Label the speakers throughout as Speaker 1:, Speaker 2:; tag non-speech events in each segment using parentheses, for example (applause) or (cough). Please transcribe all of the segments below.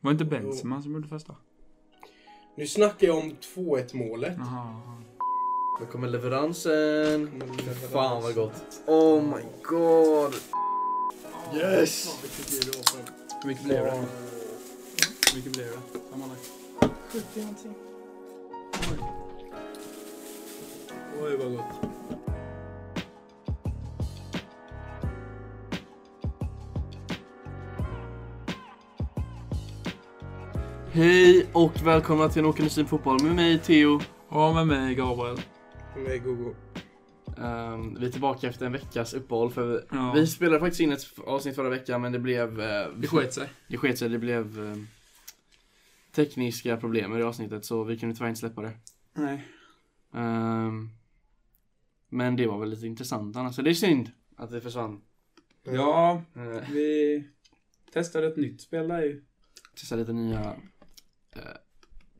Speaker 1: Var det inte Benzema som gjorde första?
Speaker 2: Nu snackar jag om 2-1 målet.
Speaker 1: Jaha.
Speaker 3: Nu kommer leveransen. Fan vad gott. Oh my god.
Speaker 4: Yes!
Speaker 1: Hur mycket blev det? Hur mycket blev det? Sammanlagt.
Speaker 4: 70 någonting.
Speaker 2: Oj, vad gott.
Speaker 3: Hej och välkomna till en Åke Nusin Fotboll med mig Theo.
Speaker 1: Och med mig Gabriel.
Speaker 2: Med Gogo.
Speaker 3: Ehm, vi är tillbaka efter en veckas uppehåll. För
Speaker 1: Ja.
Speaker 3: Vi spelade faktiskt in ett f- avsnitt förra veckan men det blev... eh,
Speaker 1: Det sket sig.
Speaker 3: det sket sig. Det blev eh, tekniska problem med det avsnittet så vi kunde tyvärr inte släppa det.
Speaker 1: Nej.
Speaker 3: Eh. Ehm, men det var väl lite intressant annars. Så det är synd att det försvann.
Speaker 4: Ja,
Speaker 3: Eh,
Speaker 4: vi testade ett nytt spel där ju.
Speaker 3: testa lite nya eh,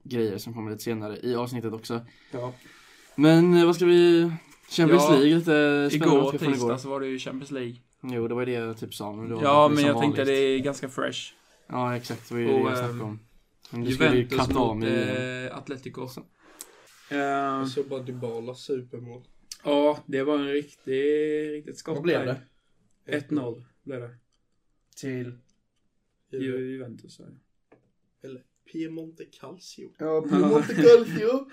Speaker 3: grejer som kommer lite senare i avsnittet också.
Speaker 4: Ja.
Speaker 3: Men eh, vad ska vi... Champions
Speaker 1: Ja,
Speaker 3: League lite spännande
Speaker 1: Igår,
Speaker 3: matcher från igår.
Speaker 1: tisdag, så var det ju Champions League.
Speaker 3: Jo, det var ju det jag typ sa. Men det var
Speaker 1: Ja,
Speaker 3: väl
Speaker 1: men
Speaker 3: som
Speaker 1: jag tänkte det
Speaker 3: vanligt.
Speaker 1: är ganska fresh.
Speaker 3: Ja, exakt. Det var ju
Speaker 1: Och,
Speaker 3: det jag
Speaker 1: ehm,
Speaker 3: snackade om. Men du skulle ju
Speaker 1: Juventus
Speaker 3: katta av
Speaker 1: mot
Speaker 3: mig.
Speaker 1: eh, Atletico. Ehm,
Speaker 4: Eh,
Speaker 2: Jag såg bara Dybala supermål.
Speaker 4: ja, det var en riktig, riktigt skott.
Speaker 3: Vad blev
Speaker 4: där. 1-0 blev det. Till Ju- Juventus. ja.
Speaker 2: Piemonte Calcio.
Speaker 3: Ja,
Speaker 4: (laughs) Piemonte
Speaker 3: Calcio.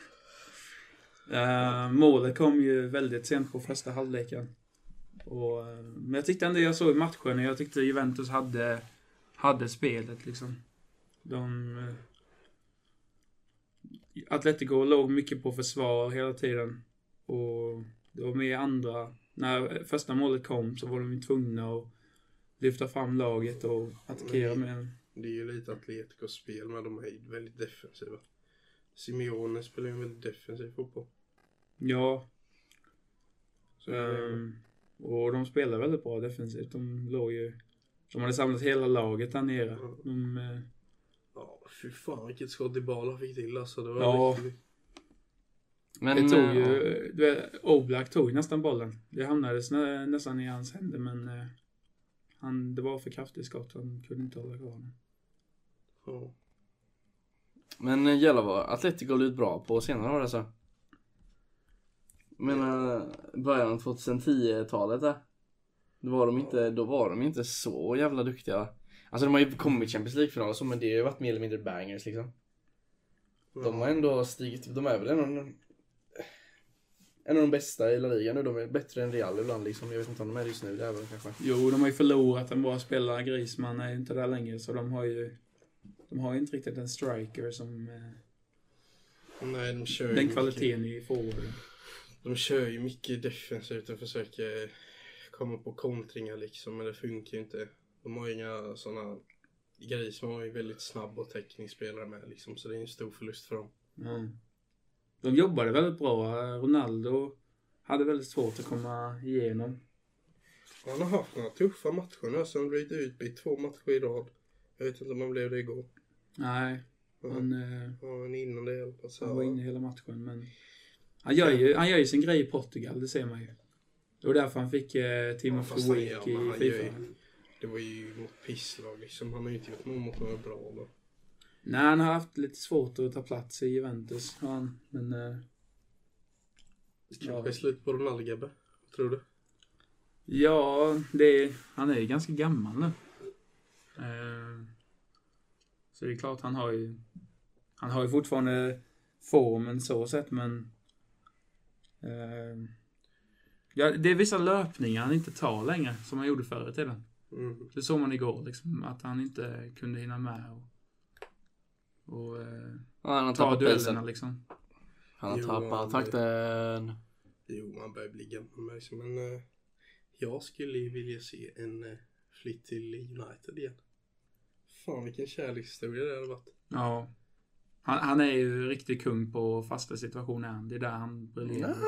Speaker 4: Eh, målet kom ju väldigt sent på första halvleken. Och, eh, men jag tyckte ändå jag såg matchen och jag tyckte Juventus hade, hade spelet liksom. De... eh, Atletico låg mycket på försvar hela tiden. Och det var med andra... När första målet kom så var de ju tvungna att lyfta fram laget och attackera med...
Speaker 2: Det är ju lite Atleticos spel, men de är ju väldigt defensiva. Simeone spelar ju en väldigt defensiv fotboll.
Speaker 4: Ja,
Speaker 2: Så det är-
Speaker 4: Ehm, och de spelar väldigt bra defensivt. De låg ju... De hade samlat hela laget där nere. De, eh,
Speaker 2: Ja, fy fan vilket skott Dybala fick till alltså. Det var
Speaker 4: Ja.
Speaker 2: riktigt...
Speaker 3: Men,
Speaker 4: det tog ju...
Speaker 3: eh,
Speaker 4: Du vet, Oblak tog nästan bollen. Det hamnade snä, nästan i hans händer men... eh, Han, det var för kraftigt skott. Han kunde inte hålla kvar den.
Speaker 2: Ja.
Speaker 3: Men eh, jävlar vad Atletico har ut bra på senare år alltså. Men eh, början av 2010-talet där. Då var, de inte, då var de inte så jävla duktiga. Alltså de har ju kommit i Champions League-final och så men det har ju varit mer eller mindre bangers liksom. De har ändå stigit, de är väl en av de, en av de bästa i La Liga nu. De är bättre än Real ibland liksom. Jag vet inte om de är det just nu, det är väl kanske.
Speaker 4: Jo, de har ju förlorat en bra spelare. Griezmann är ju inte där längre så de har ju... De har ju inte riktigt en striker som... eh,
Speaker 2: Nej, de kör ju
Speaker 4: Den
Speaker 2: mycket-
Speaker 4: kvaliteten i forwarden.
Speaker 2: De kör ju mycket defensivt och försöker komma på kontringar liksom, men det funkar ju inte. De har ju inga sådana grejer som har ju väldigt snabb och teknisk spelare med liksom, så det är en stor förlust för dem.
Speaker 4: Mm. De jobbade väldigt bra. Ronaldo hade väldigt svårt att komma igenom.
Speaker 2: Han har haft några tuffa matcher nu, så han blivit utbytt två matcher i rad. Jag vet inte om han blev det igår.
Speaker 4: Nej, han, eh,
Speaker 2: Ja, men innan det alltså. i alla fall. så-
Speaker 4: han var inne hela matchen. Men han, gör ju, han gör ju sin grej i Portugal, det ser man ju. Det var därför han fick eh, Team
Speaker 2: Ja,
Speaker 4: of
Speaker 2: fast
Speaker 4: the
Speaker 2: han
Speaker 4: Week
Speaker 2: gör-
Speaker 4: i
Speaker 2: men han
Speaker 4: Fifa.
Speaker 2: gör ju- Det var ju mot pisslag liksom. Han har ju inte gjort mål mot några bra då.
Speaker 4: Nej, han har haft lite svårt att ta plats i Juventus. har Han, men eh,
Speaker 2: Kanske slut på Ronaldo Gabbe. Tror du?
Speaker 4: ja, det är, han är ju ganska gammal nu. Eh, så det är klart han har ju... Han har ju fortfarande formen så sett, men... Eh, ja, det är vissa löpningar han inte tar längre, som han gjorde förr i tiden.
Speaker 2: Mm.
Speaker 4: Det såg man igår, liksom, att han inte kunde hinna med och, och eh,
Speaker 3: Ja, han har
Speaker 4: ta
Speaker 3: tappat
Speaker 4: duellerna
Speaker 3: pulsen.
Speaker 4: liksom.
Speaker 3: Han har
Speaker 2: Jo, han-
Speaker 3: tappat takten.
Speaker 2: Jo, man börjar bli gammal med liksom. Men eh, jag skulle ju vilja se en eh, flytt till United igen. Fan vilken kärlekshistoria det hade varit.
Speaker 4: Ja. Han, han är ju riktig kung på fasta situationer. han. Det är där han briljerar. Liksom.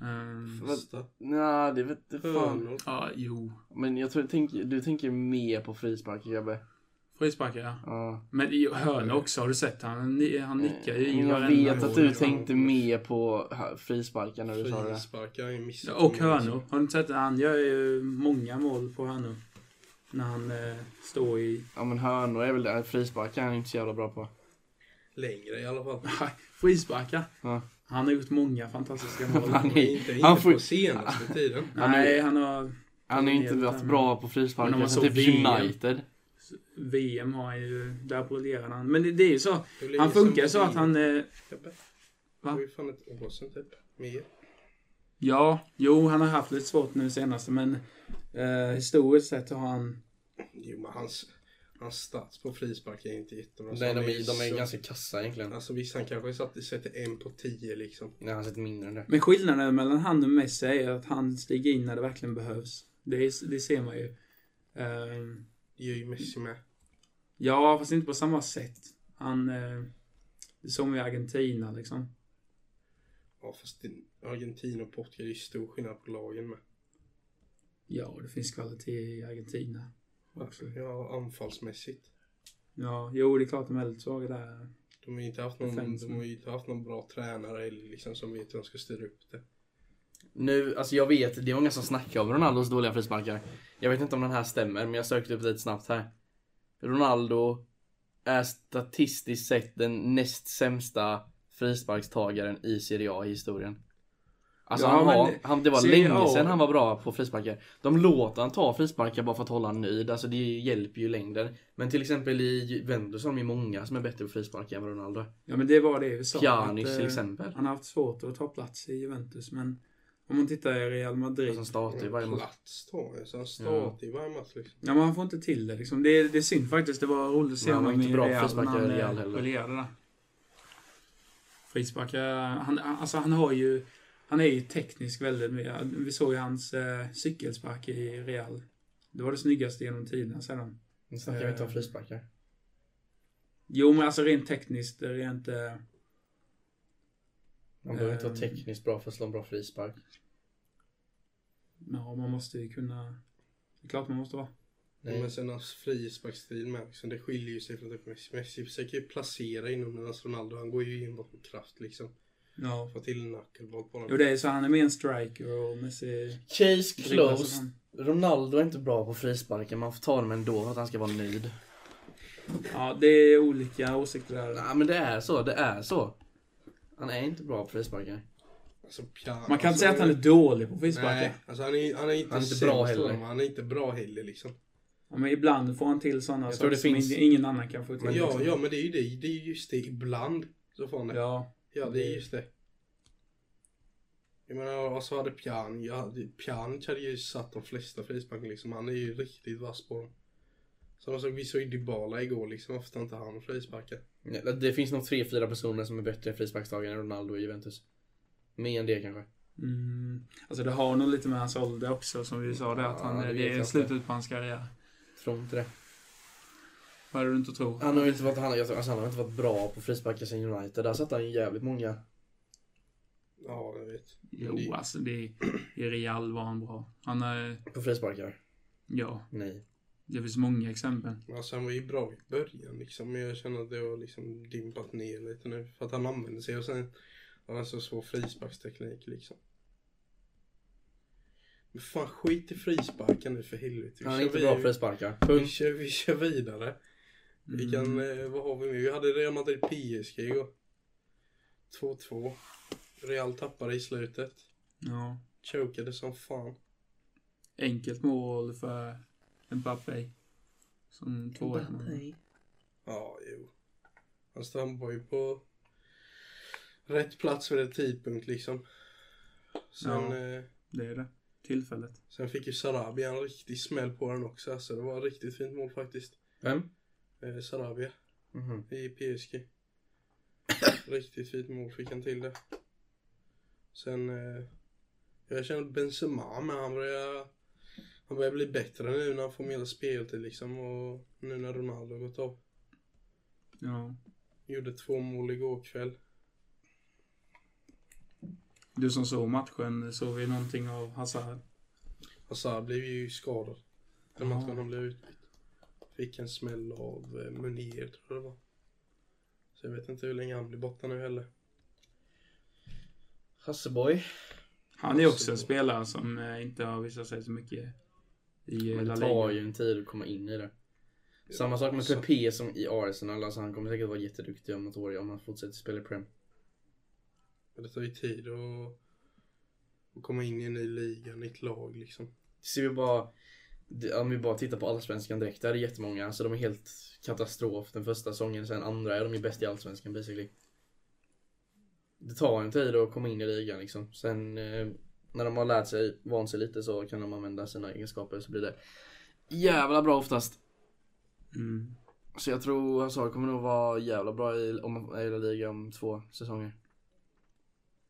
Speaker 4: Ehm,
Speaker 3: Mm. Vad-
Speaker 2: Fasta
Speaker 3: Nej, det vet du fan.
Speaker 2: hörnor.
Speaker 4: ja, jo.
Speaker 3: Men jag tror, tänk, du tänker mer på frispark Gabbe.
Speaker 4: Frisparkar, ja.
Speaker 3: Ja.
Speaker 4: Men i hörna också, har du sett? Han, ni- han nickar ju i
Speaker 3: Men Jag
Speaker 4: varenda
Speaker 3: vet
Speaker 4: mål,
Speaker 3: att du
Speaker 4: liksom.
Speaker 3: tänkte mer på hö- frisparkar när du sa det.
Speaker 2: Frisparkar, jag missar
Speaker 4: Och hörnor. Har du inte sett det? Han gör ju många mål på hörnor. När han eh, står i...
Speaker 3: Ja men hörnor är väl det. Frisparkar är han inte så jävla bra på.
Speaker 2: Längre i alla
Speaker 3: (laughs)
Speaker 2: fall.
Speaker 4: Frisparkar.
Speaker 3: Ja.
Speaker 4: Han har gjort många fantastiska mål.
Speaker 3: (laughs) Han är-
Speaker 2: inte inte
Speaker 3: han får-
Speaker 2: på
Speaker 3: (laughs)
Speaker 2: senaste tiden.
Speaker 3: han är-
Speaker 4: Nej, han har...
Speaker 3: Han har ju inte
Speaker 4: Helt,
Speaker 3: varit
Speaker 4: men-
Speaker 3: bra på
Speaker 4: Men om
Speaker 3: frisparkar
Speaker 4: man
Speaker 3: sen
Speaker 4: såg
Speaker 3: typ
Speaker 4: VM.
Speaker 3: United.
Speaker 4: VM har han ju... Där briljerar han. Men det, det är ju så.
Speaker 2: Det blir
Speaker 4: Han
Speaker 2: som
Speaker 4: funkar så
Speaker 2: vi-
Speaker 4: att han... Eh,
Speaker 2: Jobbe.
Speaker 4: Va?
Speaker 2: Det var ju fan ett år sedan typ. Mer.
Speaker 4: Ja, jo, han har haft lite svårt nu senast, men eh, historiskt sett har han...
Speaker 2: Jo men hans, hans stats på frispark är inte jättebra. Så
Speaker 3: Nej,
Speaker 2: han
Speaker 3: de är,
Speaker 2: ju
Speaker 3: de är
Speaker 2: så-
Speaker 3: ganska kassa egentligen.
Speaker 2: Alltså visst han kanske satt, sätter en på tio liksom.
Speaker 3: Nej, han sitter mindre än det.
Speaker 4: Men skillnaden mellan han och Messi är att han stiger in när det verkligen behövs. Det, är, det ser man ju. Eh,
Speaker 2: Det gör ju Messi med.
Speaker 4: ja, fast inte på samma sätt. Han... Eh, det såg man i Argentina liksom.
Speaker 2: Ja fast det- Argentina och Portugal är ju stor skillnad på lagen med.
Speaker 4: Ja, det finns kvalitet i Argentina. Också.
Speaker 2: Ja anfallsmässigt.
Speaker 4: Ja, jo, det är klart de är lite svaga där.
Speaker 2: De har ju inte haft någon,
Speaker 4: Defensen.
Speaker 2: de har ju inte haft någon bra tränare eller liksom som vet hur de ska styra upp det.
Speaker 3: Nu, alltså jag vet, det var många som snackade om Ronaldos dåliga frisparkar. Jag vet inte om den här stämmer, men jag sökte upp lite snabbt här. Ronaldo är statistiskt sett den näst sämsta frisparkstagaren i Serie A i historien. Alltså
Speaker 4: Ja,
Speaker 3: han
Speaker 4: men
Speaker 3: var, han, det var
Speaker 4: Serie A-
Speaker 3: länge sedan han var bra på frisparkar. De låter han ta frisparkar bara för att hålla han nöjd, alltså det hjälper ju längden. Men till exempel i Juventus har de ju många som är bättre på frisparkar än vad Ronaldo.
Speaker 4: Ja, men det var det vi sa. att,
Speaker 3: Pjanic
Speaker 4: eh,
Speaker 3: till exempel.
Speaker 4: Han har haft svårt att ta plats i Juventus, men om man tittar i Real Madrid
Speaker 3: Som startar ju varje match.
Speaker 2: Plats tar han. Så han startar ju varje match liksom.
Speaker 4: Ja, men han får inte till det liksom. Det är, det är synd faktiskt. Det var roligt att se
Speaker 3: Men han var
Speaker 4: honom
Speaker 3: inte
Speaker 4: i
Speaker 3: bra på
Speaker 4: Real när
Speaker 3: frisparkar
Speaker 4: han
Speaker 3: i Real
Speaker 4: eh,
Speaker 3: heller.
Speaker 4: briljerade där. Frisparkar, han, han- alltså han har ju... Han är ju teknisk väldigt mer. Vi såg ju hans eh, cykelspark i Real. Det var det snyggaste genom tiderna sedan.
Speaker 3: Nu snackar vi inte om frisparkar.
Speaker 4: Jo, men alltså rent tekniskt, rent... Eh,
Speaker 3: Man behöver inte vara
Speaker 4: Ehm.
Speaker 3: tekniskt bra för att slå en bra frispark.
Speaker 4: ja, man måste ju kunna... Det är klart man måste vara. Mm.
Speaker 3: Nej.
Speaker 2: Men sen hans frisparksstil med liksom, det skiljer ju sig från typ Messi. Messi försöker ju placera inom medan Ronaldo han går ju in bakom kraft liksom.
Speaker 4: Ja.
Speaker 2: Få till en knuckleball på honom.
Speaker 4: Jo, det är så. Han är mer en striker och Messi...
Speaker 3: Case
Speaker 4: dribblar som
Speaker 3: closed.
Speaker 4: han.
Speaker 3: Ronaldo är inte bra på frisparkar, man får ta dem ändå för att han ska vara nöjd.
Speaker 4: Ja, det är olika åsikter där.
Speaker 3: Nej men det är så, det är så. Han är inte bra på frisparkar.
Speaker 2: Alltså, Pjanic,
Speaker 4: Man kan inte säga att han är dålig på frisparkar.
Speaker 2: Nej, alltså han är, han är inte,
Speaker 3: Han är inte
Speaker 2: sämst
Speaker 3: bra
Speaker 2: av
Speaker 3: heller.
Speaker 2: dem, Han är inte bra heller liksom.
Speaker 4: Ja, men ibland får han till sådana
Speaker 3: Jag
Speaker 4: saker
Speaker 3: tror det
Speaker 4: som
Speaker 3: finns-
Speaker 4: ingen- ingen annan kan få till.
Speaker 2: Men ja,
Speaker 4: liksom.
Speaker 2: ja, men det är ju det. Det är ju just det. Ibland så får han det. Ja,
Speaker 4: ja.
Speaker 2: det är just det. Jag menar, och så hade Pjan, ja, det- Pjanic hade ju satt de flesta frisparkar liksom. Han är ju riktigt vass på dem. Så de såg, vi såg ju Dybala igår liksom. Varför tar inte han frisparkar?
Speaker 3: Nej, Det finns nog 3-4 personer som är bättre frisparkstagare än Ronaldo i Juventus. Mer än det kanske.
Speaker 4: Mm. Alltså det har nog lite med hans ålder också som vi sa där att
Speaker 3: Ja,
Speaker 4: han,
Speaker 3: det
Speaker 4: det,
Speaker 3: vet jag
Speaker 4: är
Speaker 3: inte.
Speaker 4: slutet på hans karriär.
Speaker 3: Tror inte det.
Speaker 4: Vad är det du inte tror?
Speaker 3: Han har ju inte varit, han, jag tror- alltså, han har inte varit bra på frisparkar sen United. Där satte han ju jävligt många.
Speaker 2: Ja, jag vet.
Speaker 4: Jo, alltså det i Real var han bra. Han är,
Speaker 3: På frisparkar?
Speaker 4: ja,
Speaker 3: Nej.
Speaker 4: det finns många exempel.
Speaker 2: Alltså han var ju bra i början liksom. Men jag känner att det har liksom dimpat ner lite nu. För att han använder sig och sen han har så svår frisparksteknik liksom. Men fan skit i frisparken nu för helvete. Vi
Speaker 3: Han är
Speaker 2: kör
Speaker 3: inte
Speaker 2: vid-
Speaker 3: bra på frisparkar.
Speaker 2: vi
Speaker 3: Punkt. Mm.
Speaker 2: kör, vi kör vidare. Vi
Speaker 4: Mm.
Speaker 2: kan, eh, vad har vi nu? Vi hade Real Madrid PSG igår. 2-2. Real tappade i slutet.
Speaker 4: Ja.
Speaker 2: Chokade som fan.
Speaker 4: Enkelt mål för Mbappé. Som tvåa.
Speaker 2: Ja, jo. Alltså han var ju på rätt plats vid rätt tidpunkt liksom. Sen,
Speaker 4: Ja.
Speaker 2: eh,
Speaker 4: Det är det. Tillfället.
Speaker 2: sen fick ju Sarabia en riktig smäll på den också. Alltså det var ett riktigt fint mål faktiskt.
Speaker 3: Vem?
Speaker 2: Eh, Sarabia
Speaker 3: Mhm.
Speaker 2: i PSG. riktigt fint mål fick han till det. Sen, eh, jag känner att Benzema med. Han börjar, han börjar bli bättre nu när han får mer speltid liksom. Och nu när Ronaldo har gått av.
Speaker 4: Ja.
Speaker 2: Gjorde två mål igår kväll.
Speaker 4: Du som såg matchen, såg vi någonting av Hazard?
Speaker 2: Hazard blev ju skadad. Den
Speaker 4: Ja.
Speaker 2: matchen han blev utbytt. Fick en smäll av eh, Munier tror jag det var. Så jag vet inte hur länge han blir borta nu heller.
Speaker 3: Hasseboy.
Speaker 4: Han är också
Speaker 2: Absolut.
Speaker 4: en spelare som eh, inte har visat sig så mycket i eh,
Speaker 3: Men
Speaker 4: La
Speaker 3: det tar
Speaker 4: Liga.
Speaker 3: ju en tid att komma in i det. Samma sak med
Speaker 2: så-
Speaker 3: Pepe som i Arsenal. Alltså han kommer säkert vara jätteduktig om något år om han fortsätter spela i Prem.
Speaker 2: Men det tar ju tid att, att komma in i en ny liga, nytt lag liksom.
Speaker 3: Det ser vi bara, det- om vi bara tittar på Allsvenskan direkt. Där är det jättemånga. Alltså de är helt katastrof den första säsongen. Sen andra är de ju bäst i Allsvenskan basically. Det tar en tid att komma in i ligan liksom. Sen eh, när de har lärt sig, vant sig lite så kan de använda sina egenskaper så blir det jävla bra oftast.
Speaker 4: Mm.
Speaker 3: Så jag tror Hazard kommer nog vara jävla bra i, om, i La Liga om två säsonger.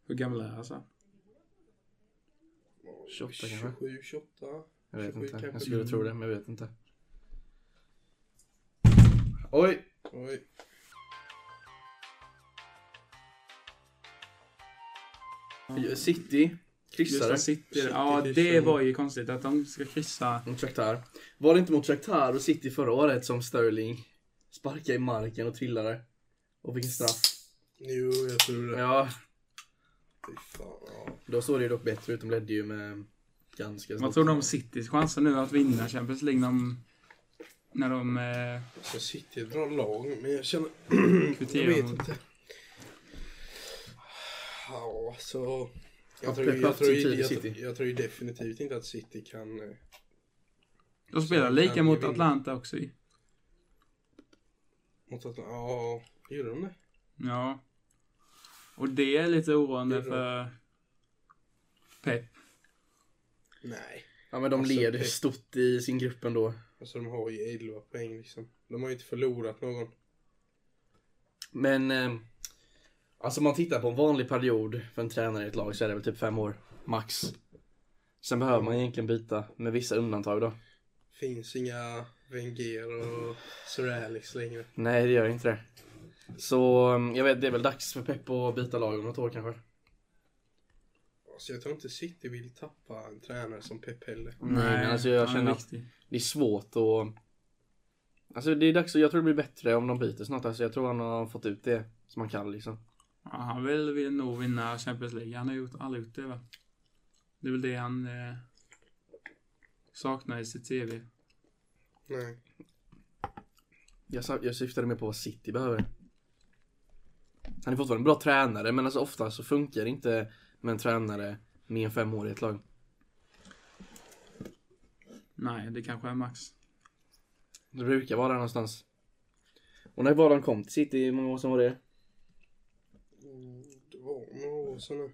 Speaker 4: Hur gammal är alltså? Hazard?
Speaker 3: 28 kanske?
Speaker 2: 27, 28.
Speaker 3: Jag vet
Speaker 2: 27
Speaker 3: inte. Jag
Speaker 2: kanske.
Speaker 3: skulle tro det, men jag vet inte. Oj!
Speaker 2: Oj.
Speaker 3: City. Kryssade.
Speaker 4: Just City. Ja, det var ju konstigt att de ska kryssa.
Speaker 3: Mot Shakhtar. Var det inte mot Shakhtar och City förra året som Sterling sparkade i marken och trillade? Och fick en straff.
Speaker 2: Jo, jag tror det.
Speaker 3: Ja,
Speaker 2: Fy fan. Ja.
Speaker 3: då såg det ju dock bättre ut. De ledde ju med ganska
Speaker 4: Vad tror du om Citys chanser nu att vinna Champions League när de, när de eh,
Speaker 2: Alltså City är ett bra lag, men jag känner... (clears throat) jag
Speaker 4: kvitterar
Speaker 2: vet
Speaker 4: mot...
Speaker 2: inte. Ja, alltså...
Speaker 3: Ja,
Speaker 2: Jag tror,
Speaker 3: Pep
Speaker 2: jag,
Speaker 3: haft
Speaker 2: tror,
Speaker 3: sin tid i
Speaker 2: jag,
Speaker 3: City.
Speaker 2: jag, jag tror ju definitivt inte att City kan... eh,
Speaker 4: De spelar
Speaker 2: Så
Speaker 4: lika
Speaker 2: kan
Speaker 4: mot
Speaker 2: vi vinna.
Speaker 4: Atlanta också ju.
Speaker 2: Mot att, ja, gjorde de det?
Speaker 4: Ja. Och det är lite oroande
Speaker 2: Det är
Speaker 4: för Pep.
Speaker 2: Nej.
Speaker 3: Ja, men de
Speaker 2: Alltså,
Speaker 3: leder
Speaker 2: Pep-
Speaker 3: stort i sin grupp ändå.
Speaker 2: Alltså de har ju 11 poäng liksom. De har ju inte förlorat någon.
Speaker 3: Men eh, alltså om man tittar på en vanlig period för en tränare i ett lag så är det väl typ fem år max. Sen behöver man egentligen byta med vissa undantag då.
Speaker 2: Finns inga Wenger och Sir Alex längre.
Speaker 3: Nej, det gör inte det. Så eh, jag vet, det är väl dags för Pep att byta lag om något år kanske.
Speaker 2: Alltså jag tror inte City vill tappa en tränare som Pep heller.
Speaker 3: Nej, men alltså jag
Speaker 4: han är
Speaker 3: känner att
Speaker 4: viktig.
Speaker 3: det är svårt att... Alltså det är dags, jag tror det blir bättre om de byter snart. Alltså jag tror han har fått ut det som han kan liksom.
Speaker 4: Ja, han vill, vill nog vinna Champions League. Han har gjort, aldrig gjort det va? Det är väl det han eh, saknar i sitt CV.
Speaker 2: Nej.
Speaker 3: Jag, sa- jag syftade mer på vad City behöver. Han är fortfarande en bra tränare men alltså ofta så funkar det inte med en tränare med en femårig i ett lag.
Speaker 4: Nej, det kanske är max.
Speaker 3: Det brukar vara där någonstans. Och när var de kom till City, hur många år sedan var det?
Speaker 2: Mm, Det var några år sedan nu.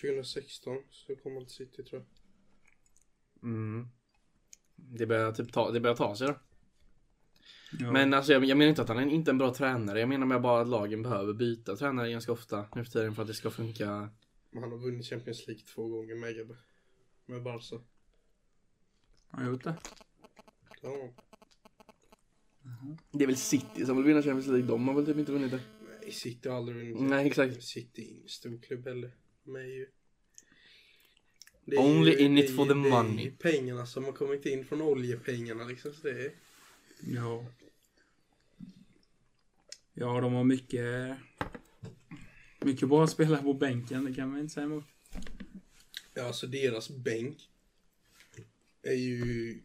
Speaker 2: 2016 så kom han till City tror jag.
Speaker 3: Mm. Det börjar typ ta, det börjar ta sig då.
Speaker 4: Ja.
Speaker 3: Men alltså jag, jag menar inte att han är inte en bra tränare. Jag menar mer bara att lagen behöver byta tränare ganska ofta nu för tiden för att det ska funka.
Speaker 2: Men han har vunnit Champions League två gånger med Gabbe. Med Barca.
Speaker 4: Har han gjort det?
Speaker 2: Ja.
Speaker 3: Det är väl City som vill vinna Champions League. De har väl typ inte vunnit det.
Speaker 2: Nej, City har aldrig vunnit.
Speaker 3: Nej exakt.
Speaker 2: City är ingen stor klubb heller. De är ju... Det är
Speaker 3: Only
Speaker 2: ju-
Speaker 3: in
Speaker 2: det
Speaker 3: it
Speaker 2: är ju-
Speaker 3: for the
Speaker 2: det är ju
Speaker 3: money.
Speaker 2: pengarna som har kommit in från oljepengarna liksom. Så det är...
Speaker 4: Ja. Ja, de har mycket... Mycket bra spelare på bänken, det kan man inte säga emot.
Speaker 2: Ja, alltså deras bänk är ju...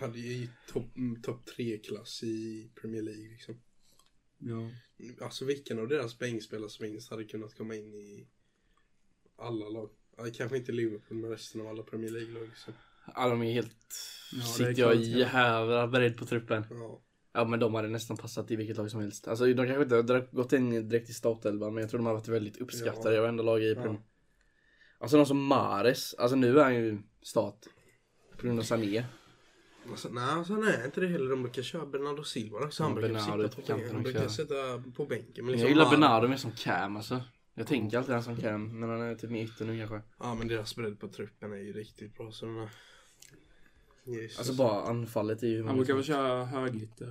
Speaker 2: Hade ju topp top tre klass i Premier League liksom.
Speaker 4: Ja.
Speaker 2: Alltså vilken av deras bänkspelare som finns hade kunnat komma in i alla lag. Ja, kanske inte Liverpool men resten av alla Premier League-lag liksom.
Speaker 3: Ja de är helt...
Speaker 4: Ja, det är
Speaker 3: City
Speaker 4: klart,
Speaker 3: har
Speaker 4: ja.
Speaker 3: jävla bredd på truppen.
Speaker 2: Ja.
Speaker 3: Ja men de hade nästan passat i vilket lag som helst. Alltså de kanske inte hade gått in direkt i startelvan men jag tror de har varit väldigt uppskattade i
Speaker 2: Ja.
Speaker 3: varenda lag i
Speaker 2: Ja.
Speaker 3: Premier. Alltså någon som Mares, alltså nu är han ju start. På grund av Sané.
Speaker 2: Alltså, nej, alltså, nej, inte det heller. De brukar köra Bernardo Silva. då, Så han
Speaker 3: Ja,
Speaker 2: brukar
Speaker 3: Bernardo
Speaker 2: sitta på,
Speaker 3: på kanten
Speaker 2: bänken. han
Speaker 3: också,
Speaker 2: brukar
Speaker 3: ja.
Speaker 2: sitta på bänken. Men liksom
Speaker 3: jag gillar
Speaker 2: Mar-
Speaker 3: Bernardo mer som cam alltså. Jag tänker alltid han som cam men han är typ mer ytter nu kanske.
Speaker 2: Ja, men deras bredd på truppen är ju riktigt bra. Så den här... Jesus.
Speaker 3: Alltså bara anfallet är ju... hur
Speaker 4: Han
Speaker 3: många
Speaker 4: brukar
Speaker 3: som-
Speaker 4: väl köra högytter.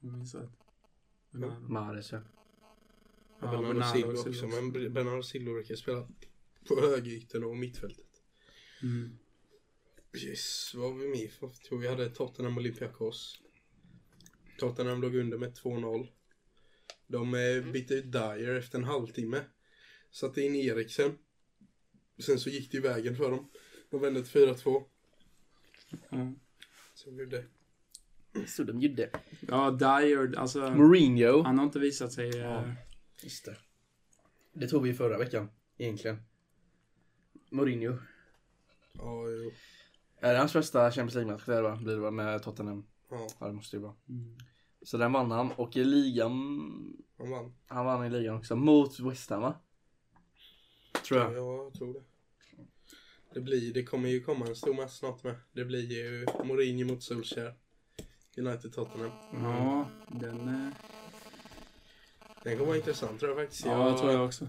Speaker 4: Om jag minns rätt. Ja,
Speaker 3: Mahrez, ja.
Speaker 2: Ja, Bernardo Silva också, men Ber- Bernardo Silva brukar spela på högerytan och mittfältet.
Speaker 4: Mm.
Speaker 2: Yes, vad har vi mer för tror Vi hade Tottenham och Olympiakos. Tottenham låg under med 2-0. De
Speaker 4: Mm.
Speaker 2: eh, bytte ut Dyer efter en halvtimme. Satte in Eriksen. Sen så gick det ju vägen för dem. De vände till 4-2. Så blev det.
Speaker 3: Så de gjorde.
Speaker 4: Ja, Dyer, alltså.
Speaker 3: Mourinho.
Speaker 4: Han har inte visat sig... eh,
Speaker 3: Just det. Det tog vi ju förra veckan, egentligen. Mourinho.
Speaker 2: Ja, jo.
Speaker 3: Är det hans första Champions League-match där va? Blir det va? Med Tottenham?
Speaker 2: Ja,
Speaker 3: Ja, det måste ju vara.
Speaker 4: Mm.
Speaker 3: Så den vann han och i ligan
Speaker 2: han vann.
Speaker 3: Han vann i ligan också, mot West Ham va? Tror
Speaker 2: Ja,
Speaker 3: jag.
Speaker 2: jag tror det. Det, blir, det kommer ju komma en stor match snart med. Det blir ju Mourinho mot Solskjaer. United Tottenham.
Speaker 4: Ja, den... eh,
Speaker 2: Den kommer vara intressant tror jag faktiskt.
Speaker 4: Ja, jag tror jag också.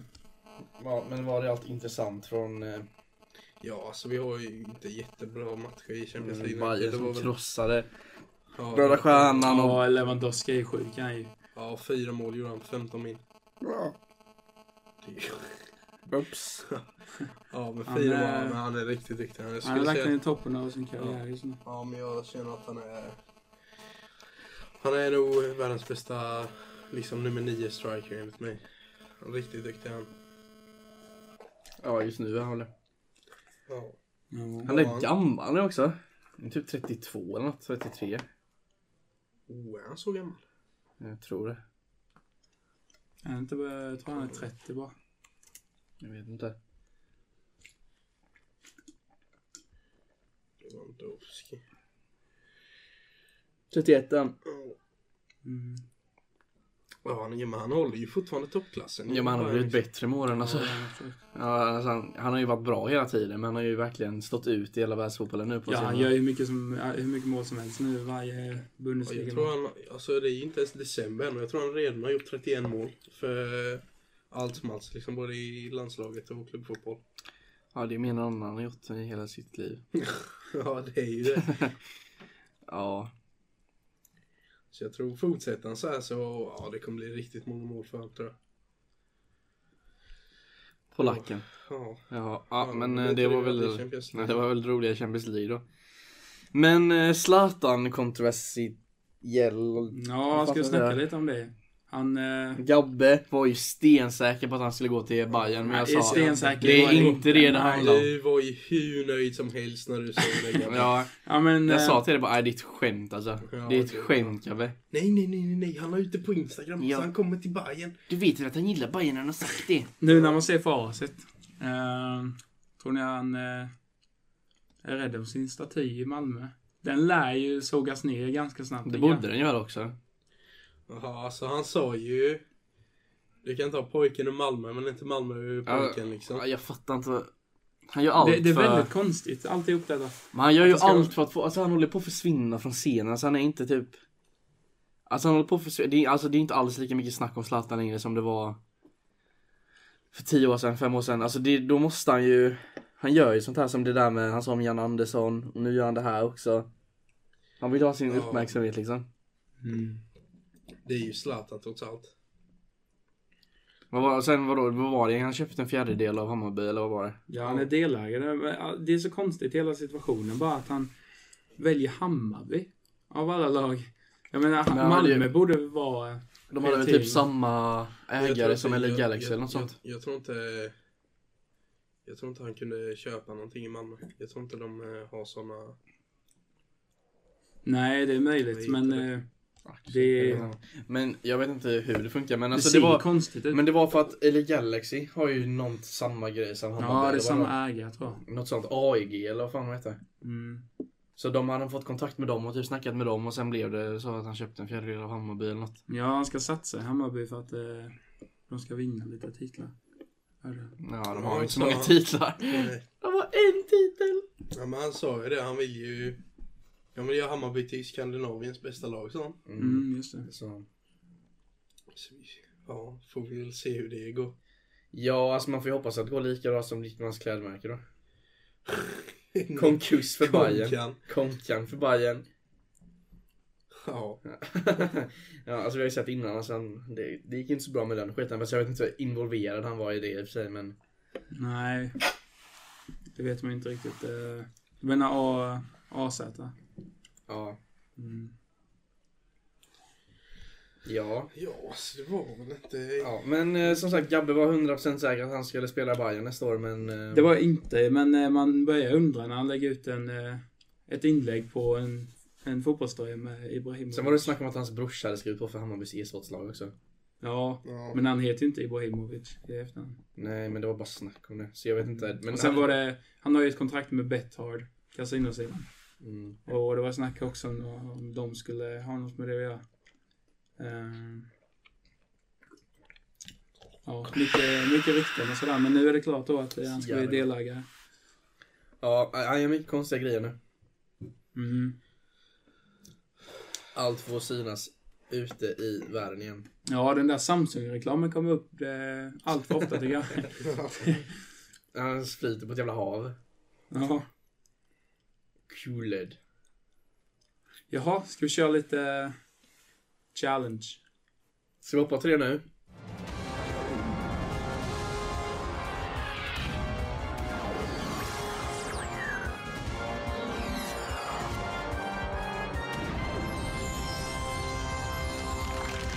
Speaker 3: Ja, men var det allt intressant från eh,
Speaker 2: Ja, alltså vi har ju inte jättebra matcher i Champions League.
Speaker 3: Mm, Bayern
Speaker 2: Det var
Speaker 3: som
Speaker 2: väl-
Speaker 3: krossade
Speaker 2: ja,
Speaker 3: Röda Stjärnan och...
Speaker 4: Ja, Lewandowski är sjuk han är ju.
Speaker 2: Ja, fyra mål gjorde han på 15 min. Det är-
Speaker 3: Ups.
Speaker 2: Ja, men
Speaker 4: Han
Speaker 2: fyra
Speaker 4: är-
Speaker 2: mål. Men han är riktigt duktig. Han, jag
Speaker 4: Han har
Speaker 2: skulle
Speaker 4: lagt
Speaker 2: säga...
Speaker 4: ner toppen av sin karriär just nu.
Speaker 2: Ja, men jag känner att han är... Han är nog världens bästa liksom nummer nio striker enligt mig. Han är riktigt duktig han.
Speaker 3: Ja, just nu är han väl
Speaker 2: Ja.
Speaker 4: Ja.
Speaker 3: Han är gammal nu också. Han är typ 32 eller något, 33.
Speaker 2: Oh, är han så gammal?
Speaker 3: Jag tror det.
Speaker 4: Han är inte bara, jag tror han är 30 bara.
Speaker 3: Jag vet inte.
Speaker 2: Lewandowski.
Speaker 3: 31 än.
Speaker 4: Mm.
Speaker 2: Ja, han, är- men han håller ju fortfarande toppklassen.
Speaker 3: Ja, men han har blivit bättre med åren alltså.
Speaker 4: Ja, han är sjuk.
Speaker 3: Ja, alltså han, han har ju varit bra hela tiden men han har ju verkligen stått ut i hela världsfotbollen nu på
Speaker 4: Ja, han
Speaker 3: senare.
Speaker 4: gör ju mycket som, hur mycket mål som helst nu varje
Speaker 2: Ja, Jag
Speaker 4: Bundesliga.
Speaker 2: tror han, alltså det är ju inte ens december än och jag tror han redan har gjort 31 mål för allt som allt, liksom både i landslaget och klubbfotboll.
Speaker 3: Ja, det är mer än någon annan har gjort i hela sitt liv.
Speaker 2: (laughs) Ja, det är ju det.
Speaker 3: Ja,
Speaker 2: Så jag tror fortsätter han så här så, ja det kommer bli riktigt många mål för honom tror jag.
Speaker 3: polacken.
Speaker 2: Ja,
Speaker 3: Ja,
Speaker 2: Ja,
Speaker 3: ja men
Speaker 2: men det
Speaker 3: eh, det
Speaker 2: tror
Speaker 3: var
Speaker 2: jag att det är
Speaker 3: väl
Speaker 2: Champions
Speaker 3: nej,
Speaker 2: League.
Speaker 3: det var väl roliga Champions League då. Men eh, Zlatan kontroversiell.
Speaker 4: Ja, jag ska
Speaker 3: Fattar
Speaker 4: snacka
Speaker 3: det.
Speaker 4: lite om det. Han... Eh,
Speaker 3: Gabbe var ju stensäker på att han skulle gå till Bayern men jag
Speaker 4: är
Speaker 3: sa
Speaker 4: stensäker.
Speaker 3: det är
Speaker 4: Var
Speaker 3: inte det det handlar om.
Speaker 2: du var ju hur nöjd som helst när du såg det. grabben.
Speaker 3: (laughs) Ja,
Speaker 4: Ja, men...
Speaker 3: jag
Speaker 4: eh,
Speaker 3: sa till dig bara, "Nej, det är ett skämt alltså.
Speaker 2: Ja,
Speaker 3: Det är ett
Speaker 2: det är
Speaker 3: skämt Gabbe.
Speaker 2: Nej, nej, nej, nej, nej, han la ut det på Instagram
Speaker 3: Ja.
Speaker 2: så han kommer till Bayern.
Speaker 3: Du vet väl att han gillar Bayern, han har sagt det.
Speaker 4: Nu när man ser facit. Eh, tror ni han eh, är rädd om sin staty i Malmö? Den lär ju sågas ner ganska snabbt.
Speaker 3: Det borde den göra också.
Speaker 2: Jaha, alltså han sa ju... Du kan ta pojken ur Malmö men inte Malmö ur pojken liksom.
Speaker 3: Ja, Jag fattar inte. vad- Han gör
Speaker 4: det,
Speaker 3: allt
Speaker 4: det är
Speaker 3: för...
Speaker 4: väldigt konstigt, alltihop detta.
Speaker 3: Men han gör ju
Speaker 4: Att det ska
Speaker 3: allt för att få, alltså han håller på att försvinna från scenen, så han är inte typ Alltså han håller på att försvinna, det är, alltså det är inte alls lika mycket snack om Zlatan längre som det var För tio år sedan, fem år sedan, alltså det, då måste han ju Han gör ju sånt här som det där med, han sa om Jan Andersson, och nu gör han det här också Han vill ha sin
Speaker 2: Ja.
Speaker 3: uppmärksamhet liksom
Speaker 2: Det är ju Zlatan trots allt.
Speaker 3: vad var, Sen vadå, vad var det, han köpte en fjärdedel av Hammarby eller vad var det?
Speaker 4: Ja, han är delägare. Men, ja, Det är så konstigt hela situationen bara att han väljer Hammarby av alla lag. Jag menar,
Speaker 3: men
Speaker 4: Malmö
Speaker 3: det-
Speaker 4: borde vara...
Speaker 3: De hade väl
Speaker 4: Hela
Speaker 3: typ
Speaker 4: tiden.
Speaker 3: samma
Speaker 2: Jag tror
Speaker 3: ägare
Speaker 2: inte-
Speaker 3: som LA
Speaker 2: jag-
Speaker 3: Galaxy
Speaker 2: jag-
Speaker 3: eller något
Speaker 2: jag-
Speaker 3: sånt
Speaker 2: Jag tror inte... Jag tror inte han kunde köpa någonting i Malmö. Jag tror inte de eh, har såna...
Speaker 4: Nej, det är möjligt,
Speaker 2: Jag vet
Speaker 4: men
Speaker 2: inte.
Speaker 4: eh, det,
Speaker 3: Men jag vet inte hur det funkar men
Speaker 4: det
Speaker 3: alltså
Speaker 4: ser
Speaker 3: det var
Speaker 4: konstigt ut.
Speaker 3: Men det var för att eller Galaxy har ju någon samma grej som Hammarby.
Speaker 4: ja, det är
Speaker 3: var
Speaker 4: samma
Speaker 3: något,
Speaker 4: ägare tror jag.
Speaker 3: något sånt AEG eller vad fan de heter.
Speaker 4: Mm.
Speaker 3: Så de hade fått kontakt med dem och typ snackat med dem och sen blev det så att han köpte en fjärdedel av Hammarby eller något.
Speaker 4: Ja, han ska satsa i Hammarby för att eh, de ska vinna lite titlar. Är det?
Speaker 3: Ja, de
Speaker 2: Ja,
Speaker 3: har ju inte så
Speaker 2: så-
Speaker 3: många titlar.
Speaker 2: Nej.
Speaker 3: De har en titel!
Speaker 2: Ja, men han sa ju det. Han vill ju... Ja, men jag Hammarby till Skandinaviens bästa lag, sa han.
Speaker 4: Mm, just det.
Speaker 3: Så.
Speaker 2: Så vi- Ja, får vi väl se hur det
Speaker 3: (laughs)
Speaker 2: går.
Speaker 3: Ja, alltså man får ju hoppas att det går lika bra som Dickmans klädmärke då. Konkurs för Bayern.
Speaker 2: Konkan.
Speaker 3: Konkan för Bayern. (laughs)
Speaker 2: Ja.
Speaker 3: ja, alltså vi har ju sett innan, alltså, han- det, det gick inte så bra med den skiten. Fast jag vet inte hur involverad han var i det i och för sig men.
Speaker 4: Nej, det vet man inte riktigt. Eh, Du menar A, AZ?
Speaker 3: Ja.
Speaker 4: Mm.
Speaker 3: Ja.
Speaker 2: Ja, så det var väl inte...
Speaker 3: Ja, men eh, som sagt, Gabbe var 100% säker att han skulle spela i Bayern nästa år, men... Eh,
Speaker 4: Det var jag inte, men eh, man börjar undra när han lägger ut en, eh, ett inlägg på en, en fotbollströja med Ibrahimovic.
Speaker 3: Sen var det snack om att hans brorsa hade skrivit på för Hammarbys e-sportslag också.
Speaker 4: Ja,
Speaker 2: Ja.
Speaker 4: men han heter ju inte Ibrahimovic i efterhand.
Speaker 3: Nej, men det var bara snack om det. Så jag vet inte. Men
Speaker 4: och sen var det, han har ju ett kontrakt med Bethard, kasinosidan.
Speaker 3: Mm.
Speaker 4: Och det var snack också om, om de skulle ha något med det att göra. Ehm. ja, mycket, mycket rykten och sådär. Men nu är det klart då att eh, han ska bli
Speaker 3: Jävlar.
Speaker 4: delägare.
Speaker 3: Ja, jag gör mycket konstiga grejer nu.
Speaker 4: Mm.
Speaker 3: Allt får synas ute i världen igen.
Speaker 4: Ja, den där Samsung-reklamen kommer upp eh, allt för ofta (laughs) tycker jag.
Speaker 3: Han flyter på ett jävla hav.
Speaker 4: Ja.
Speaker 3: Kuled.
Speaker 4: Jaha, ska vi köra lite challenge?
Speaker 3: Ska vi hoppa till det nu?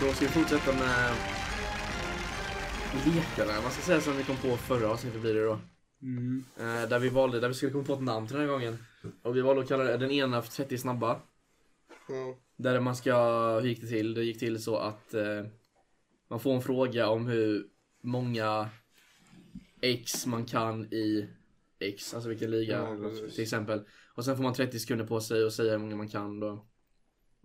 Speaker 3: Då ska vi fortsätta med lekarna. Man ska säga som vi kom på förra avsnittet blir det då.
Speaker 4: Mm.
Speaker 3: Eh, där vi valde, där vi skulle komma på ett namn till den här gången. Och vi valde att kalla det- den ena för 30 snabba.
Speaker 2: Ja.
Speaker 3: Där man ska, hur gick det till? Det gick till så att eh, man får en fråga om hur många X man kan i X, alltså vilken liga
Speaker 2: Ja, precis.
Speaker 3: till exempel. Och sen får man 30 sekunder på sig och säga hur många man kan då.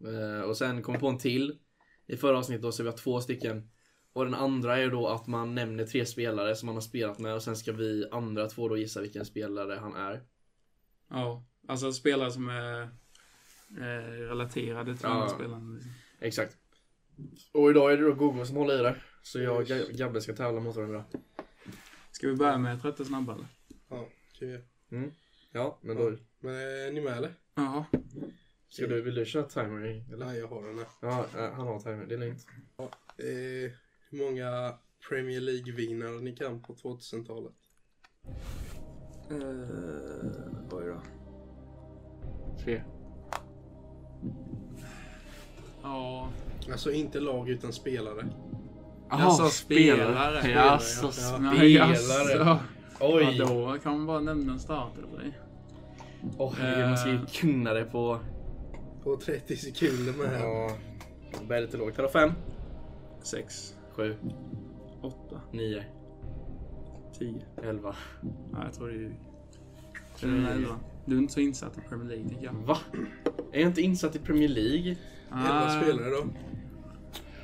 Speaker 3: Eh, och sen kom vi på en till i förra avsnittet då, så vi har två stycken. Och den andra är då att man nämner tre spelare som man har spelat med och sen ska vi andra två då gissa vilken spelare han är.
Speaker 4: Ja, alltså spelare som är eh, relaterade till
Speaker 3: Ja.
Speaker 4: andra spelare.
Speaker 3: Exakt. Och idag är det då Google som håller i det. Så jag och
Speaker 2: Yes.
Speaker 3: Gab- Gabbe ska tävla mot varandra.
Speaker 4: Ska vi börja med 30 snabba eller?
Speaker 2: Kul.
Speaker 3: Ja, men
Speaker 2: då- Men eh, är ni med eller?
Speaker 4: Jaha.
Speaker 3: Ska du, vill du köra timer? Eller?
Speaker 2: Nej, jag har den här.
Speaker 3: Ja, eh, han har timer. Det är lugnt.
Speaker 2: Eh, hur många Premier League-vinnare ni kan på 2000-talet?
Speaker 4: oj då.
Speaker 3: Tre.
Speaker 4: Ja.
Speaker 2: Alltså inte lag utan spelare.
Speaker 4: Jag sa spelare.
Speaker 3: Jaså,
Speaker 2: Spelare,
Speaker 3: spelare.
Speaker 4: Jaså. Ja,
Speaker 3: Oj!
Speaker 4: då kan man bara nämna en start eller vad det är.
Speaker 3: Åh, herregud, man ska ju kunna det på...
Speaker 2: På 30 sekunder med här.
Speaker 3: Ja. Det börjar lite lågt. Här då, fem.
Speaker 4: Sex,
Speaker 3: Sju.
Speaker 4: åtta,
Speaker 3: Nio.
Speaker 4: tio.
Speaker 3: Elva.
Speaker 4: Ja, jag tror det är... Jag tror det är elva. Du är inte så insatt i Premier League, tycker jag.
Speaker 3: Va? Är jag inte insatt i Premier League?
Speaker 2: Elva
Speaker 4: Ah,
Speaker 2: spelare då.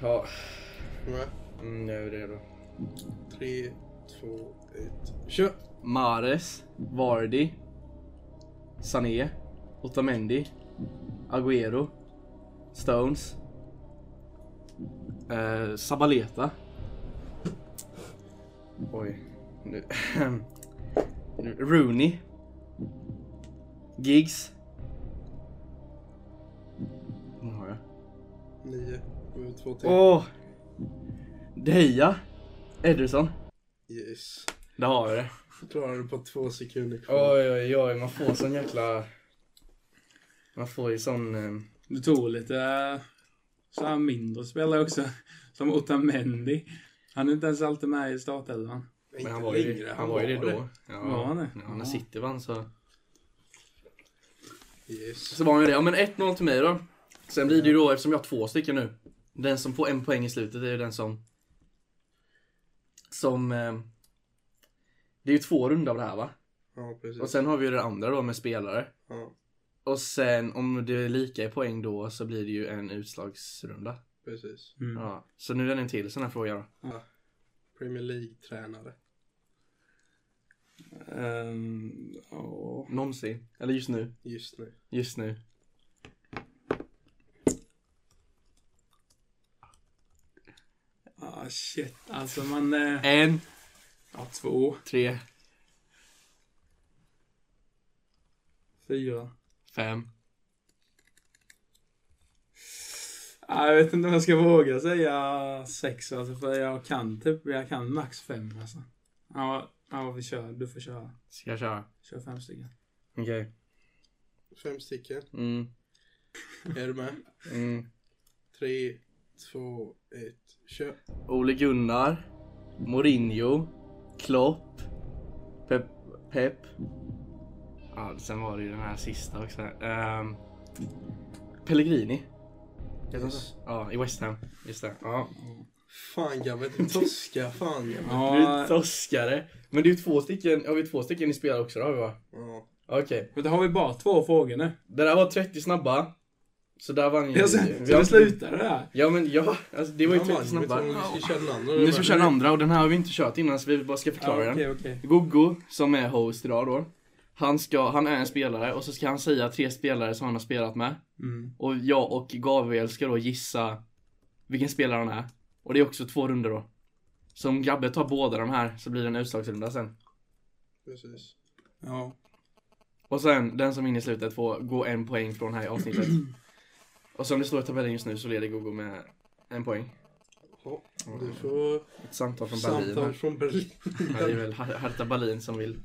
Speaker 3: Ja.
Speaker 2: Nej.
Speaker 3: Mm, jag är redo.
Speaker 2: Tre, två, ett. Kör!
Speaker 3: Mares, Vardy, Sané, Otamendi, Agüero, Stones, eh, Sabaleta. Oj. Nu. (clears throat) nu- Rooney. Giggs. Vad har jag?
Speaker 2: Nio, sju, två, tre.
Speaker 3: Åh! De Gea, Ederson.
Speaker 2: Yes.
Speaker 3: Där har vi det.
Speaker 2: Klarar du på två sekunder kvar.
Speaker 3: Oj, oj, oj, man får sån jäkla... Man får ju sån... eh,
Speaker 4: Du tog lite eh, så här mindre spelare också. (laughs) Som Otamendi. Han är inte ens alltid med i startelvan.
Speaker 3: Men
Speaker 2: Inte
Speaker 3: han var ju,
Speaker 2: längre,
Speaker 3: han var ju det då. Ja.
Speaker 4: Var han det?
Speaker 3: Ja, när
Speaker 4: Ja.
Speaker 3: City vann så...
Speaker 2: Yes.
Speaker 3: Så var han ju det. Ja, men 1-0 till mig då. Sen blir det ju då, eftersom jag har två stycken nu. Den som får en poäng i slutet är ju den som... Som... Eh, det är ju två runder av det här va?
Speaker 2: Ja, precis.
Speaker 3: Och sen har vi ju det andra då med spelare.
Speaker 2: Ja,
Speaker 3: Och sen om det är lika i poäng då så blir det ju en utslagsrunda.
Speaker 2: precis.
Speaker 4: Mm.
Speaker 3: Ja. Så nu är det en till sån här fråga då.
Speaker 2: Premier League-tränare.
Speaker 4: Ehm, ja.
Speaker 3: Någonsin. Eller just nu.
Speaker 2: Just nu.
Speaker 3: Just nu.
Speaker 4: Ah, shit. Alltså man... eh,
Speaker 3: En,
Speaker 4: Ja, två,
Speaker 3: tre,
Speaker 4: fyra.
Speaker 3: fem.
Speaker 4: Ah, jag vet inte om jag ska våga säga sex alltså, för jag kan typ, jag kan max fem alltså. Ja, ja vi kör, du får köra.
Speaker 3: Ska jag köra?
Speaker 4: Kör fem stycken.
Speaker 3: Okej.
Speaker 2: Fem stycken.
Speaker 3: Mm.
Speaker 2: Är du med?
Speaker 3: Mm.
Speaker 2: Tre, två, ett. Kör!
Speaker 3: Ole Gunnar, Mourinho, Klopp, Pep, Pep Ja, sen var det ju den här sista också. Ehm, Pellegrini. Heter han så? Ja, i West Ham. Just det. Ja.
Speaker 2: Fan grabben, du torskar fan grabben.
Speaker 3: Du är torskare. Men det är ju två stycken, har vi två stycken i spel också då har vi va?
Speaker 2: Ja.
Speaker 3: Okej.
Speaker 4: Men då har vi bara två frågor nu.
Speaker 3: Det där var 30 snabba. Så där vann ju...
Speaker 4: Ja, så,
Speaker 3: vi
Speaker 4: så
Speaker 3: har-
Speaker 4: det slutar det där.
Speaker 3: Ja men ja, alltså, det var ju
Speaker 2: Ja,
Speaker 3: 30
Speaker 2: man,
Speaker 3: snabba.
Speaker 2: vet du vad, Vi ska köra den andra.
Speaker 3: Nu ska vi köra den andra och den här har vi inte kört innan så vi bara ska förklara
Speaker 4: Ja,
Speaker 3: den.
Speaker 4: Okej, okej.
Speaker 3: Gogo, som är host idag då. Han, ska, han är en spelare och så ska han säga tre spelare som han har spelat med.
Speaker 4: Mm.
Speaker 3: Och jag och Gabriel ska då gissa vilken spelare han är. Och det är också två runder då. Så om Gabbe tar båda de här så blir det en utslagsrunda sen.
Speaker 2: Precis.
Speaker 4: Ja.
Speaker 3: Och sen, den som vinner i slutet får gå en poäng från här
Speaker 4: (clears throat)
Speaker 3: i avsnittet. och som det står i tabellen just nu så leder Gogo med en poäng.
Speaker 2: Ja, du får
Speaker 3: Ett samtal från Berlin.
Speaker 2: samtal
Speaker 3: här.
Speaker 2: från Berlin.
Speaker 3: Ja, Det är väl Har- Hertha Berlin som vill.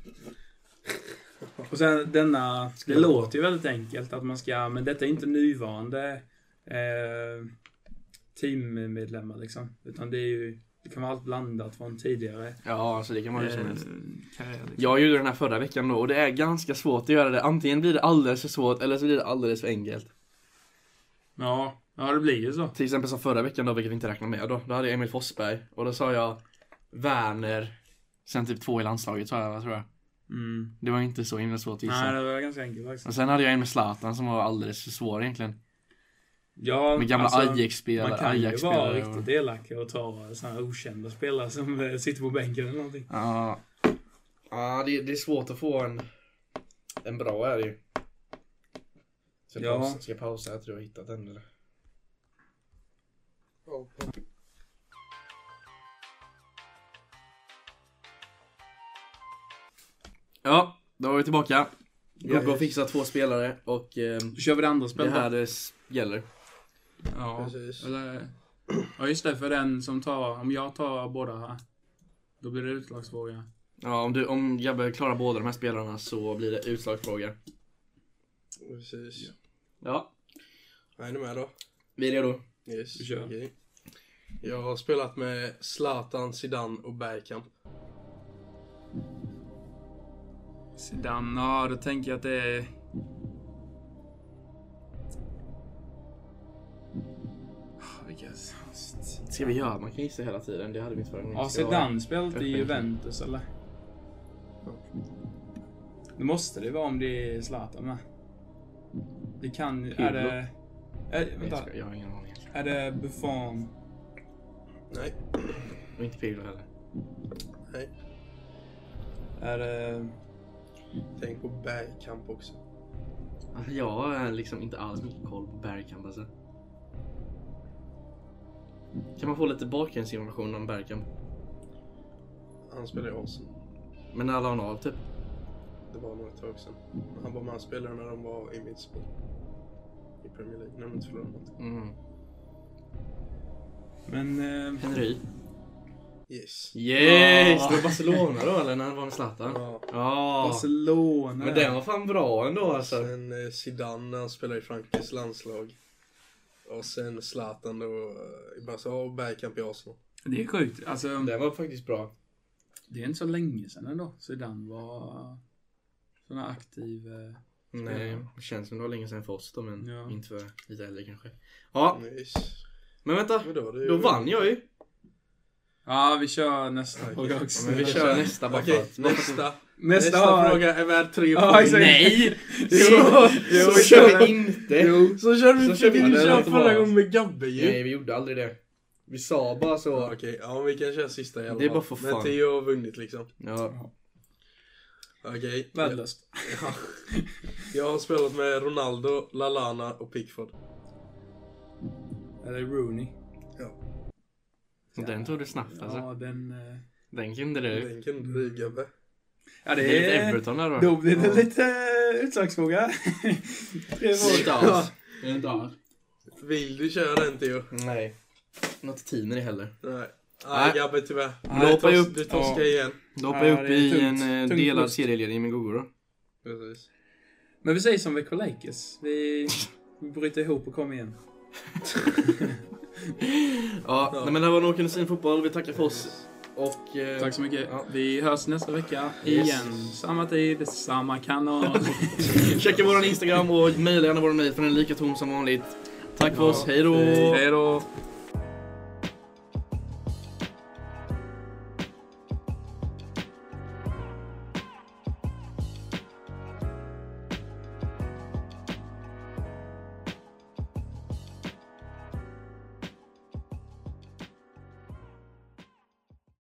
Speaker 4: Och sen denna, det låter ju väldigt enkelt att man ska, men detta är inte nuvarande eh, teammedlemmar liksom. Utan det är ju, det kan vara allt blandat från tidigare
Speaker 3: Ja, så det kan vara hur som helst.
Speaker 4: karriär. Liksom.
Speaker 3: Jag gjorde den här förra veckan då och det är ganska svårt att göra det. Antingen blir det alldeles för svårt eller så blir det alldeles för enkelt.
Speaker 4: Ja, ja, det blir ju så.
Speaker 3: Till exempel som förra veckan då, vilket vi inte räknar med då. Då hade jag Emil Forsberg och då sa jag Werner. Sen typ två i landslaget sa jag, vad tror jag.
Speaker 4: Mm.
Speaker 3: Det var inte så himla svårt att
Speaker 4: Nej,
Speaker 3: gissa.
Speaker 4: det var ganska enkelt faktiskt.
Speaker 3: Och sen hade jag en med Zlatan som var alldeles för svår egentligen.
Speaker 4: Ja,
Speaker 3: Med gamla
Speaker 4: alltså,
Speaker 3: Ajax-spelare.
Speaker 4: Man kan ju vara
Speaker 3: Ajax-spelare.
Speaker 4: riktigt
Speaker 3: och-
Speaker 4: elak och ta sådana här okända spelare som eh, sitter på bänken eller någonting.
Speaker 3: Ja, ja det, det är svårt att få en, en bra är det ju. Ska
Speaker 4: Ja.
Speaker 3: pausa, ska pausa, jag tror jag har hittat den. Eller?
Speaker 2: Ja.
Speaker 3: Ja, då var vi tillbaka.
Speaker 2: Yes.
Speaker 3: Gubbe har fixat två spelare och ehm,
Speaker 4: Då kör vi det andra
Speaker 3: det
Speaker 4: spelet
Speaker 3: här det s- gäller.
Speaker 4: Ja,
Speaker 2: Precis.
Speaker 4: eller... Ja, just det. För den som tar... Om jag tar båda här, då blir det utslagsfråga.
Speaker 3: Ja, om, du, om Gabbe klarar båda de här spelarna så blir det utslagsfråga.
Speaker 2: Precis.
Speaker 3: Ja.
Speaker 2: Är ni med då?
Speaker 3: Vi är redo.
Speaker 2: Yes.
Speaker 4: Vi kör.
Speaker 2: okej. Jag har spelat med Zlatan, Zidane och Bergkamp.
Speaker 4: Zidane, ja då tänker jag att det är... Ah, Vilka...
Speaker 3: Ska vi göra? Man kan gissa hela tiden. Det hade vi inte förra gången.
Speaker 4: Ja,
Speaker 3: Ska vara-
Speaker 4: Zidane spelat i
Speaker 3: tänker-
Speaker 4: Juventus eller? Det måste det vara om det är Zlatan med. Det kan ju... Är det... Är,
Speaker 3: Nej, Jag,
Speaker 4: vänta.
Speaker 3: ska, jag har ingen aning. egentligen.
Speaker 4: Är det Buffon?
Speaker 2: Nej.
Speaker 3: Och inte Pirlo heller.
Speaker 2: Nej.
Speaker 4: Är det...
Speaker 2: Tänk på Bergkamp också.
Speaker 3: Alltså, jag har liksom inte alls mycket koll på Bergkamp alltså. Kan man få lite bakgrundsinformation om Bergkamp?
Speaker 2: Han spelade i Åsen.
Speaker 3: Men när la han av typ?
Speaker 2: Det var nog ett tag sedan. Han var med och spelade när de var i Midspool. I Premier League. När de inte förlorade någonting.
Speaker 3: Mm.
Speaker 4: Men... Eh,
Speaker 3: Henry?
Speaker 2: Yes.
Speaker 3: Yes!
Speaker 4: Ja.
Speaker 3: Det var Barcelona då eller när han var med Zlatan?
Speaker 2: Ja.
Speaker 3: Ja.
Speaker 4: Barcelona.
Speaker 3: Men den var fan bra ändå alltså.
Speaker 2: Sen eh, Zidane när han spelade i Frankrikes landslag. Och sen Zlatan då eh, i Barcelona och Bergkamp i Arsenal.
Speaker 4: Det är sjukt. Alltså,
Speaker 3: Den var faktiskt bra.
Speaker 4: det är inte så länge sedan ändå. Zidane var sån här aktiv. eh,
Speaker 3: Nej, det känns som det var länge sedan för oss då, men
Speaker 4: Ja.
Speaker 3: inte för lite äldre kanske. Ja,
Speaker 2: Yes.
Speaker 3: men vänta.
Speaker 2: Men då, var det ju-
Speaker 3: Då vann jag ju.
Speaker 4: Ja, vi kör nästa fråga också.
Speaker 3: men vi
Speaker 4: Nästa-
Speaker 3: kör nästa bara för
Speaker 2: Okej,
Speaker 3: att- (laughs)
Speaker 2: nästa.
Speaker 4: nästa,
Speaker 2: Nästa
Speaker 4: fråga.
Speaker 2: fråga är värd tre
Speaker 4: Ja,
Speaker 2: poäng.
Speaker 4: exakt.
Speaker 3: Nej!
Speaker 2: Jo,
Speaker 3: Så,
Speaker 2: jo,
Speaker 3: så kör vi inte.
Speaker 2: Så kör vi
Speaker 3: Så kör vi-
Speaker 2: vi
Speaker 3: Ja, det
Speaker 2: kör
Speaker 3: låter bra.
Speaker 2: förra gången med Gabbe ju.
Speaker 3: Nej, vi gjorde aldrig det. Vi sa bara
Speaker 2: Ja,
Speaker 3: så.
Speaker 2: Okej, ja men vi kan köra sista i alla
Speaker 3: Det är
Speaker 2: fall.
Speaker 3: bara för fan.
Speaker 2: Men Theo har vunnit liksom.
Speaker 3: Ja.
Speaker 2: Okej.
Speaker 4: Värdelöst.
Speaker 2: Ja. (laughs) Jag har spelat med Ronaldo, Lalana och Pickford.
Speaker 4: Eller Rooney.
Speaker 3: Den tog du snabbt alltså.
Speaker 4: Ja, den... eh,
Speaker 3: Den kunde du.
Speaker 2: Den kan du Gabbe.
Speaker 4: Ja,
Speaker 3: Det är
Speaker 4: det
Speaker 3: lite
Speaker 4: är...
Speaker 3: Everton där
Speaker 4: Då
Speaker 3: då.
Speaker 4: blir det lite eh, utslagsfråga. Tre frågor.
Speaker 3: Stas.
Speaker 4: Ja.
Speaker 2: Vill du köra den Theo?
Speaker 3: Nej. Något tiner i heller.
Speaker 2: Nej.
Speaker 3: Nej.
Speaker 2: Nej Gabbe tyvärr.
Speaker 3: Nej,
Speaker 2: Du
Speaker 3: hoppar
Speaker 2: tors-
Speaker 3: jag upp.
Speaker 2: Du torskar
Speaker 4: Ja.
Speaker 2: igen.
Speaker 3: Då hoppar jag
Speaker 4: Ja,
Speaker 3: upp
Speaker 4: det är
Speaker 3: i en
Speaker 4: tungt.
Speaker 3: eh,
Speaker 4: Tungt
Speaker 3: delad
Speaker 4: förlust.
Speaker 3: serieledning med Gogo då.
Speaker 2: Precis.
Speaker 4: Men vi säger som Vekolakis. Vi, vi bryter ihop och kommer igen.
Speaker 3: Ja,
Speaker 2: Ja.
Speaker 3: Nej, men det här var Nåken och sin fotboll. Vi tackar för oss. Och... eh,
Speaker 4: Tack så mycket.
Speaker 3: Ja.
Speaker 4: Vi hörs nästa vecka
Speaker 3: Yes.
Speaker 4: igen. Samma tid, samma (laughs) kanal.
Speaker 3: Checka våran Instagram och mejla gärna våran mejl för den är lika tom som vanligt. Tack för oss, hej då!
Speaker 4: Hej då!